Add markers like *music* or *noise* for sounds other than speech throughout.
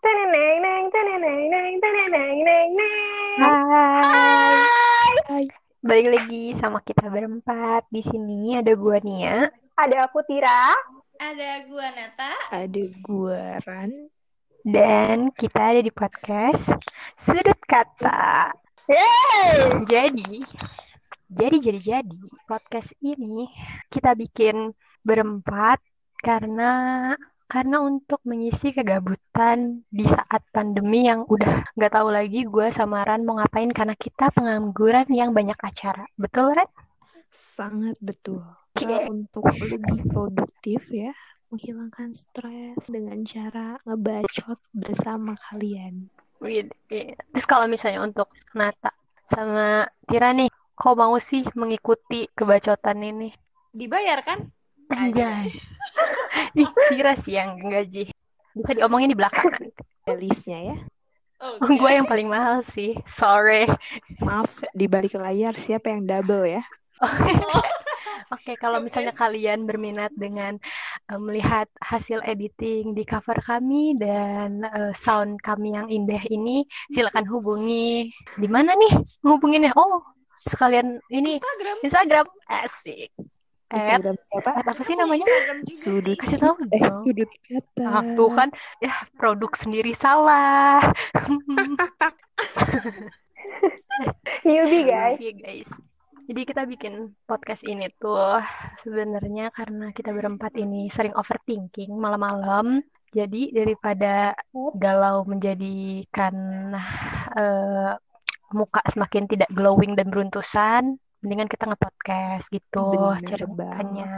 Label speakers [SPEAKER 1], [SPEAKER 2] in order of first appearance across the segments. [SPEAKER 1] Teneneng, neng, teneneng, neng, teneneng, neng, neng.
[SPEAKER 2] Hai,
[SPEAKER 1] Hai,
[SPEAKER 2] balik lagi sama kita berempat. Di sini ada gua Nia.
[SPEAKER 1] ada aku Tira.
[SPEAKER 3] Ada gua Nata.
[SPEAKER 4] Ada guaran.
[SPEAKER 2] Dan kita ada di podcast Sudut Kata.
[SPEAKER 1] Yeay.
[SPEAKER 2] Jadi, jadi, jadi, jadi, podcast ini kita bikin berempat karena karena untuk mengisi kegabutan di saat pandemi yang udah nggak tahu lagi gua sama Ran mau ngapain karena kita pengangguran yang banyak acara. Betul, Ran?
[SPEAKER 4] Sangat betul.
[SPEAKER 2] Oke.
[SPEAKER 4] Nah, untuk lebih produktif ya, menghilangkan stres dengan cara ngebacot bersama kalian.
[SPEAKER 2] Wih, iya. Terus kalau misalnya untuk Nata sama Tira nih, kok mau sih mengikuti kebacotan ini?
[SPEAKER 3] Dibayar kan?
[SPEAKER 2] Anjay. Ih, Tira sih yang gaji. Bisa diomongin di belakangan.
[SPEAKER 4] Ada listnya ya.
[SPEAKER 2] *laughs*
[SPEAKER 3] Oke.
[SPEAKER 2] Gue yang paling mahal sih. Sorry.
[SPEAKER 4] Maaf, di balik layar siapa yang double ya?
[SPEAKER 2] Oke, kalau misalnya kalian berminat dengan eh, melihat hasil editing di cover kami dan eh, sound kami yang indah ini, silakan hubungi. Di mana nih ngehubunginnya? Oh, sekalian ini
[SPEAKER 3] Instagram.
[SPEAKER 2] Instagram asik. Eh,
[SPEAKER 4] Instagram siapa?
[SPEAKER 2] At apa sih namanya?
[SPEAKER 3] Instagram juga
[SPEAKER 4] Sudut.
[SPEAKER 3] sih.
[SPEAKER 2] Kasih tahu
[SPEAKER 4] Eh,
[SPEAKER 2] dong.
[SPEAKER 4] sudut kata.
[SPEAKER 2] Ah, tuh kan, ya produk sendiri salah. *laughs*
[SPEAKER 1] Newbie
[SPEAKER 4] Iya,
[SPEAKER 1] guys.
[SPEAKER 2] Maaf ya, guys. Jadi kita bikin podcast ini tuh sebenarnya karena kita berempat ini sering overthinking malam-malam. Jadi daripada galau menjadikan eh, muka semakin tidak glowing dan beruntusan, mendingan kita nge-podcast gitu
[SPEAKER 4] Bener
[SPEAKER 2] ceritanya.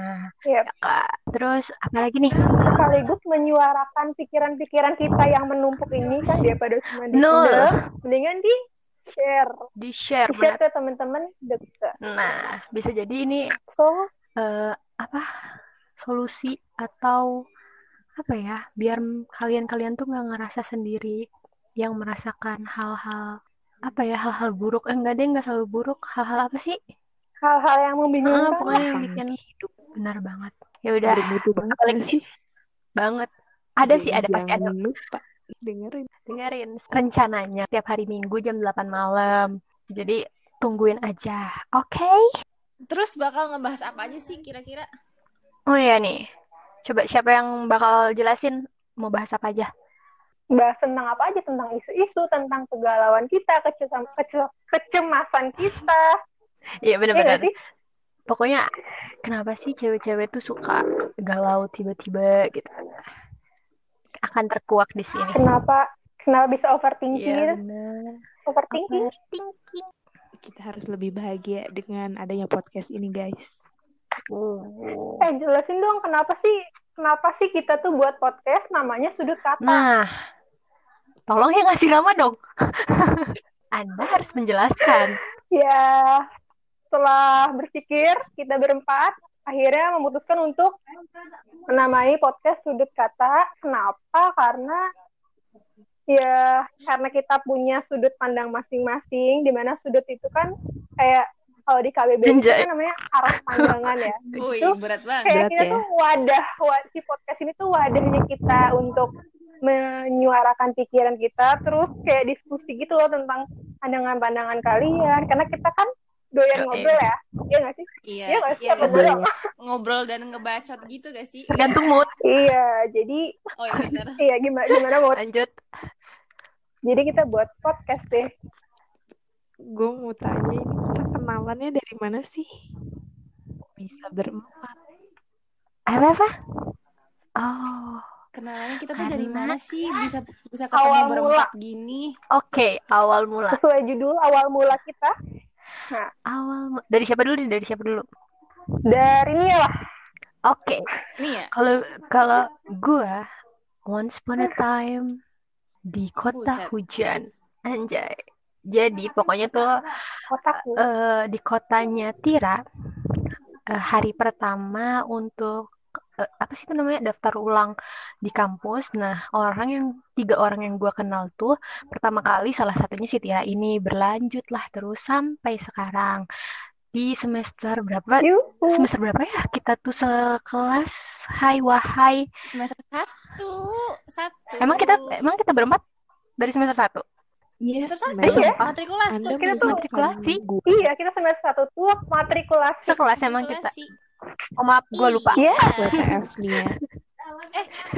[SPEAKER 1] Yep.
[SPEAKER 2] Ya, Kak. Terus apalagi nih?
[SPEAKER 1] Sekaligus menyuarakan pikiran-pikiran kita yang menumpuk ini kan daripada cuma di
[SPEAKER 2] Nul.
[SPEAKER 1] Mendingan di share,
[SPEAKER 2] Di-share.
[SPEAKER 1] di share ke teman-teman deket.
[SPEAKER 2] Nah, bisa jadi ini
[SPEAKER 1] So,
[SPEAKER 2] eh, apa solusi atau apa ya biar m- kalian-kalian tuh nggak ngerasa sendiri yang merasakan hal-hal apa ya hal-hal buruk eh, enggak deh nggak selalu buruk hal-hal apa sih
[SPEAKER 1] hal-hal yang
[SPEAKER 2] ah,
[SPEAKER 1] membingungkan.
[SPEAKER 2] pokoknya yang bikin
[SPEAKER 4] hidup
[SPEAKER 2] benar banget ya udah
[SPEAKER 4] bermutu banget
[SPEAKER 2] apalagi
[SPEAKER 4] gak sih?
[SPEAKER 2] banget ada sih ada pasti ada
[SPEAKER 4] Jangan lupa dengerin.
[SPEAKER 2] dengerin rencananya tiap hari Minggu jam 8 malam jadi tungguin aja oke
[SPEAKER 3] Terus bakal ngebahas apa aja sih kira-kira?
[SPEAKER 2] oh iya nih coba siapa yang bakal jelasin mau bahas apa aja
[SPEAKER 1] bahas tentang apa aja tentang isu-isu tentang kegalauan kita kecesam, kece- kecemasan kita ya
[SPEAKER 2] iya
[SPEAKER 1] nggak
[SPEAKER 2] benar-benar
[SPEAKER 1] sih
[SPEAKER 2] Pokoknya kenapa sih cewek-cewek tuh suka galau tiba-tiba gitu? Akan terkuak di sini. Iya,
[SPEAKER 1] kenapa kenapa bisa overthinking gitu
[SPEAKER 2] bener.
[SPEAKER 1] overthinking
[SPEAKER 2] Thinking.
[SPEAKER 4] Kita harus lebih bahagia dengan adanya podcast ini guys.
[SPEAKER 1] eh jelasin dong kenapa sih kenapa sih kita tuh buat podcast namanya sudut kata
[SPEAKER 2] Nah, tolong ya ngasih nama dong. *laughs* Anda harus menjelaskan.
[SPEAKER 1] ya setelah berpikir kita berempat akhirnya memutuskan untuk menamai podcast sudut kata kenapa karena ya karena kita punya sudut pandang masing-masing di mana sudut itu kan kayak kalau di KBBI itu
[SPEAKER 2] Anjay.
[SPEAKER 1] kan namanya arah pandangan ya
[SPEAKER 3] Wih,
[SPEAKER 1] Itu
[SPEAKER 3] berat banget.
[SPEAKER 1] kayak
[SPEAKER 4] Berat
[SPEAKER 1] kita
[SPEAKER 4] ya.
[SPEAKER 1] tuh wadah wa- si podcast ini tuh wadahnya kita untuk menyuarakan pikiran kita terus kayak diskusi gitu loh tentang pandangan-pandangan kalian karena kita kan doyan
[SPEAKER 2] Yoi.
[SPEAKER 1] ngobrol ya iya nggak sih
[SPEAKER 3] Iya,
[SPEAKER 1] iya nggak sih
[SPEAKER 3] iya,
[SPEAKER 1] apa
[SPEAKER 3] nggak sih?
[SPEAKER 4] ya.
[SPEAKER 1] belum
[SPEAKER 3] ngobrol dan ngebacot gitu gak sih? Iya.
[SPEAKER 2] Tergantung mood.
[SPEAKER 1] iya jadi
[SPEAKER 3] Oh iya bener.
[SPEAKER 1] iya gimana gimana mau
[SPEAKER 2] Lanjut.
[SPEAKER 1] jadi kita buat podcast deh
[SPEAKER 4] Gue mau tanya ini kita kenalannya dari mana sih? Bisa berempat.
[SPEAKER 2] Apa apa? Oh,
[SPEAKER 3] Kenalannya kita tuh dari
[SPEAKER 2] Karena-
[SPEAKER 3] mana sih bisa
[SPEAKER 1] Awal
[SPEAKER 3] bisa ketemu
[SPEAKER 1] mula.
[SPEAKER 3] berempat gini?
[SPEAKER 2] oke. Awal mula.
[SPEAKER 1] sesuai judul awal mula kita
[SPEAKER 2] Awal mu- dari siapa dulu nih? Dari siapa dulu?
[SPEAKER 1] dari ini lah
[SPEAKER 2] Oke.
[SPEAKER 3] Nih ya.
[SPEAKER 2] Kalau kalau gua once upon a time di kota
[SPEAKER 3] Buset.
[SPEAKER 2] hujan. Anjay. Jadi pokoknya tuh
[SPEAKER 1] otakku
[SPEAKER 2] eh, di kotanya Tira eh, hari pertama untuk eh, eh, apa sih itu namanya daftar ulang di kampus. Nah, orang yang tiga orang yang gua kenal tuh pertama kali salah satunya si Tira ini berlanjutlah terus sampai sekarang di semester berapa?
[SPEAKER 1] Yuhu.
[SPEAKER 2] eh, Semester berapa ya? Kita tuh sekelas. Hai wahai.
[SPEAKER 3] Semester satu, satu.
[SPEAKER 2] Emang kita emang kita berempat dari semester satu.
[SPEAKER 4] Yes,
[SPEAKER 3] Semester
[SPEAKER 4] memang.
[SPEAKER 3] satu ya?
[SPEAKER 1] Iya.
[SPEAKER 3] matrikulasi.
[SPEAKER 4] Anda
[SPEAKER 1] Kita tuh
[SPEAKER 4] melupakan
[SPEAKER 2] matrikulasi.
[SPEAKER 4] gua.
[SPEAKER 1] Iya, kita semester satu tuh matrikulasi.
[SPEAKER 2] Sekelas emang kita. Oh, maaf, gue lupa.
[SPEAKER 1] Iya.
[SPEAKER 4] WTF nih ya.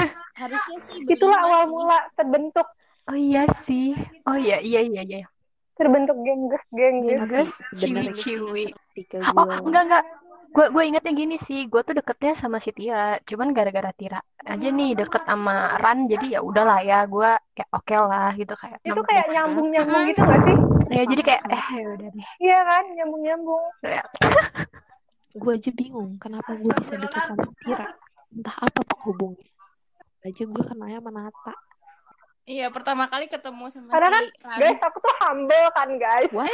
[SPEAKER 3] Eh, harusnya sih
[SPEAKER 1] Itulah
[SPEAKER 3] berlima
[SPEAKER 1] awal
[SPEAKER 3] sih. Iya,
[SPEAKER 1] mula terbentuk
[SPEAKER 2] Oh iya sih. Oh iya iya iya iya.
[SPEAKER 1] terbentuk gengges-gengges.
[SPEAKER 4] Tapi
[SPEAKER 2] Guys,
[SPEAKER 4] bener
[SPEAKER 2] ciwi-ciwi.
[SPEAKER 4] ketika
[SPEAKER 2] Oh,
[SPEAKER 4] gua-
[SPEAKER 2] enggak enggak. Gue gue ingetnya gini sih, gue tuh deketnya sama si Tira, cuman gara-gara Tira aja nih deket sama Ran, jadi ya udahlah ya, gue ya oke lah gitu kayak.
[SPEAKER 1] Itu
[SPEAKER 2] nambah.
[SPEAKER 1] kayak nyambung-nyambung gitu gak sih?
[SPEAKER 2] ya jadi kayak eh ya udah deh.
[SPEAKER 1] Iya kan, nyambung-nyambung.
[SPEAKER 4] gue aja bingung kenapa gue bisa deket sama Setira entah apa penghubungnya aja gue kenalnya sama Nata
[SPEAKER 3] Iya, pertama kali ketemu sama
[SPEAKER 1] Karena
[SPEAKER 3] si
[SPEAKER 1] kan,
[SPEAKER 3] Rani.
[SPEAKER 1] Guys, aku tuh humble kan, guys.
[SPEAKER 4] Wah.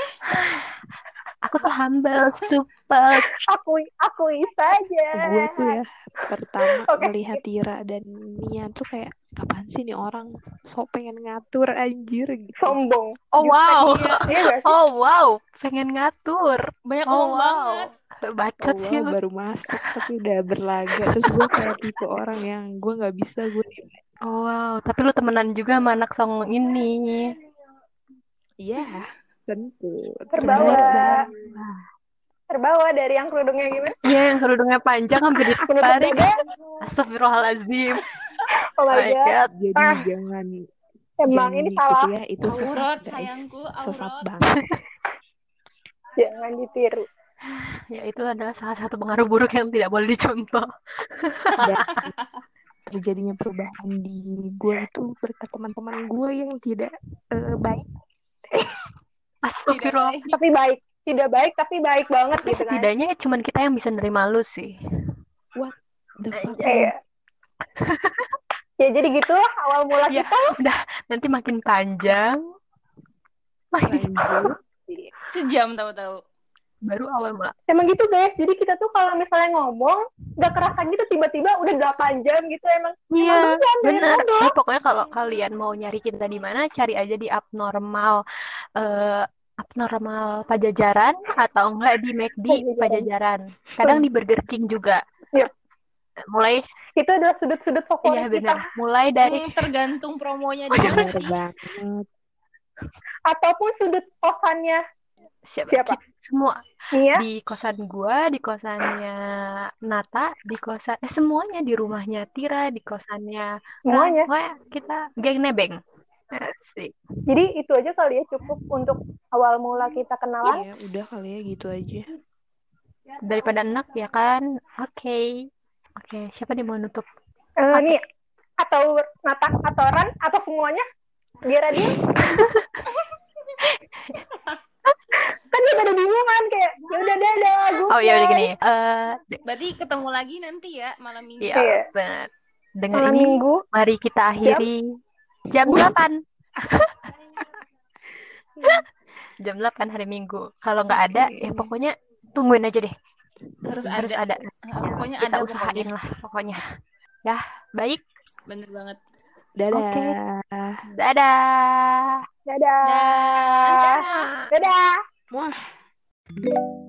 [SPEAKER 2] Aku tuh humble, super.
[SPEAKER 1] Akui, akui saja.
[SPEAKER 4] gue tuh ya pertama
[SPEAKER 1] Oke.
[SPEAKER 4] melihat Tira dan Nia tuh kayak apaan sih nih orang sok pengen ngatur anjir gitu
[SPEAKER 1] Sombong.
[SPEAKER 2] Oh wow.
[SPEAKER 3] Iya,
[SPEAKER 1] Iya gak sih?
[SPEAKER 2] Oh wow, pengen ngatur.
[SPEAKER 3] banyak
[SPEAKER 2] Oh
[SPEAKER 3] ngomong
[SPEAKER 2] wow.
[SPEAKER 3] banget.
[SPEAKER 2] Bacot
[SPEAKER 4] Allah,
[SPEAKER 2] sih lu.
[SPEAKER 4] baru masuk tapi udah berlaga terus gue kayak tipe orang yang gue nggak bisa gue
[SPEAKER 2] Oh wow, tapi lu temenan juga sama anak song ini.
[SPEAKER 4] iya tentu
[SPEAKER 1] Terbawa. Terbawa dari yang kerudungnya gimana?
[SPEAKER 2] Iya, yang kerudungnya panjang hampir
[SPEAKER 1] Penutup
[SPEAKER 2] ditarik.
[SPEAKER 1] dada.
[SPEAKER 2] Astagfirullahalazim.
[SPEAKER 1] Oh my
[SPEAKER 2] My
[SPEAKER 1] god.
[SPEAKER 2] God.
[SPEAKER 4] jadi
[SPEAKER 1] Ah.
[SPEAKER 4] jangan
[SPEAKER 1] Emang
[SPEAKER 4] ya. jangan
[SPEAKER 1] ini
[SPEAKER 4] gitu
[SPEAKER 1] salah.
[SPEAKER 4] ya itu sesat
[SPEAKER 3] Aurat,
[SPEAKER 4] guys.
[SPEAKER 3] sayangku,
[SPEAKER 4] sesat
[SPEAKER 3] aurat.
[SPEAKER 4] banget
[SPEAKER 1] Jangan ditiru.
[SPEAKER 2] Ya, itu adalah salah satu pengaruh buruk yang tidak boleh dicontoh.
[SPEAKER 4] dan terjadinya perubahan di gue itu berkat teman-teman gue yang tidak eh, baik
[SPEAKER 3] Tidak
[SPEAKER 2] Astagfirullah.
[SPEAKER 3] baik.
[SPEAKER 1] Tapi baik. Tidak baik, tapi baik banget
[SPEAKER 2] Tapi
[SPEAKER 1] gitu kan.
[SPEAKER 2] setidaknya cuman kita yang bisa nerima lu sih.
[SPEAKER 4] the fuck
[SPEAKER 1] Iya. ya jadi gitulah awal mula
[SPEAKER 4] Ya.
[SPEAKER 2] Iya.
[SPEAKER 1] kita.
[SPEAKER 2] Nanti makin panjang, makin
[SPEAKER 4] lanjut
[SPEAKER 1] Iya.
[SPEAKER 3] Sejam tahu-tahu.
[SPEAKER 2] baru awal mula.
[SPEAKER 1] Emang gitu guys. Jadi kita tuh kalau misalnya ngomong gak kerasa gitu tiba-tiba udah 8 jam gitu emang.
[SPEAKER 2] Iya,
[SPEAKER 1] Emang beneran,
[SPEAKER 2] bener.
[SPEAKER 1] beneran dong.
[SPEAKER 2] Nah, pokoknya kalau kalian mau nyari cinta di mana, cari aja di abnormal eh, abnormal Pajajaran atau enggak di McD
[SPEAKER 1] Pajajaran. Iya.
[SPEAKER 2] Pajajaran. Kadang di Burger King juga.
[SPEAKER 1] Yep.
[SPEAKER 2] Mulai
[SPEAKER 1] Itu adalah sudut-sudut
[SPEAKER 2] iya
[SPEAKER 1] favorit kita.
[SPEAKER 2] bener. Mulai dari
[SPEAKER 3] Hmm, tergantung promonya di mana
[SPEAKER 4] benar
[SPEAKER 3] sih.
[SPEAKER 4] banget
[SPEAKER 1] Ataupun sudut kosannya ya.
[SPEAKER 2] siapa,
[SPEAKER 1] Siapa?
[SPEAKER 2] ki- semua
[SPEAKER 1] Nia.
[SPEAKER 2] di kosan gua, di kosannya Nata, di kosan eh semuanya di rumahnya Tira, di kosannya Ran.
[SPEAKER 1] Semuanya.
[SPEAKER 2] Pokoknya kita geng nebeng. Asik.
[SPEAKER 1] Jadi itu aja kali ya cukup untuk awal mula kita kenalan.
[SPEAKER 4] ya udah kali ya gitu aja
[SPEAKER 2] Daripada enak ya kan? Oke. Oke, siapa nih mau nutup?
[SPEAKER 1] Eh, nih atau Nata atau Ran atau semuanya biar dia *laughs* kan dia pada bingungan kayak ya udah dadah gue
[SPEAKER 2] Oh ya udah gini. Eh, de-
[SPEAKER 3] Berarti ketemu lagi nanti ya malam minggu.
[SPEAKER 2] iya,
[SPEAKER 1] Iya.
[SPEAKER 2] benar. Dengan
[SPEAKER 1] malam
[SPEAKER 2] ini
[SPEAKER 1] minggu
[SPEAKER 2] mari kita akhiri jam
[SPEAKER 1] *laughs*
[SPEAKER 2] 8. jam 8 hari Minggu. Kalau nggak ada
[SPEAKER 4] Oke.
[SPEAKER 2] ya pokoknya tungguin aja deh.
[SPEAKER 3] Harus
[SPEAKER 2] Harus
[SPEAKER 3] ada.
[SPEAKER 2] ada.
[SPEAKER 3] Ah, Pokoknya
[SPEAKER 2] Kita
[SPEAKER 3] ada
[SPEAKER 2] usahain
[SPEAKER 3] pokoknya.
[SPEAKER 2] lah pokoknya. Ya, baik.
[SPEAKER 3] Bener banget.
[SPEAKER 4] dadah
[SPEAKER 2] Oke. Dadah.
[SPEAKER 1] dadah
[SPEAKER 3] Dah.
[SPEAKER 1] dadah
[SPEAKER 4] Wah.